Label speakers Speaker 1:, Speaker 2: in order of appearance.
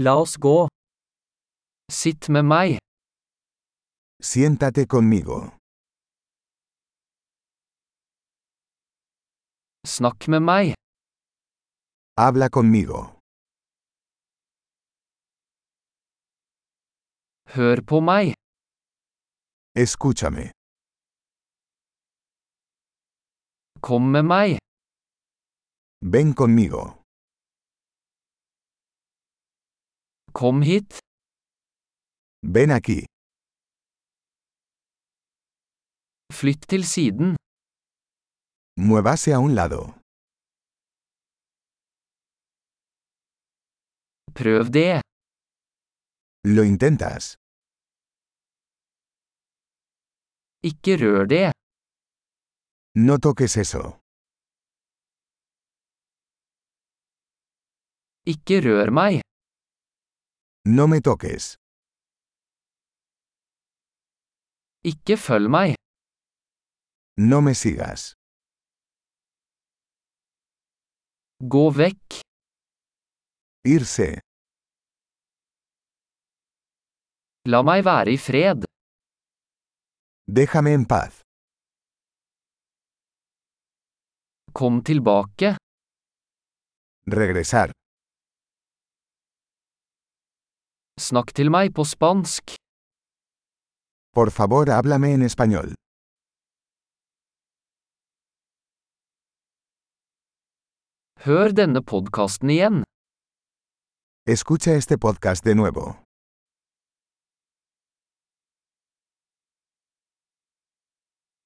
Speaker 1: La oss gå. Sitt med meg.
Speaker 2: Siéntate conmigo.
Speaker 1: Snakk med meg.
Speaker 2: Habla conmigo.
Speaker 1: Hør på meg.
Speaker 2: Escúchame.
Speaker 1: Kom med meg.
Speaker 2: Ven conmigo.
Speaker 1: Kom hit.
Speaker 2: Ven aquí.
Speaker 1: Flytt til siden.
Speaker 2: Muévase a un lado.
Speaker 1: Prøv det.
Speaker 2: Lo intentas.
Speaker 1: Ikke rør det.
Speaker 2: No toques eso.
Speaker 1: Ikke rør meg.
Speaker 2: No me toques.
Speaker 1: Ikke følg meg.
Speaker 2: No me sigas.
Speaker 1: Gå vekk.
Speaker 2: Irse.
Speaker 1: La meg være i fred.
Speaker 2: Déjame en paz.
Speaker 1: Kom tilbake.
Speaker 2: Regresar.
Speaker 1: Snakk til meg på spansk.
Speaker 2: Por favor, háblame en español.
Speaker 1: Hør denne podkasten igjen.
Speaker 2: Escucha este podcast de nuevo.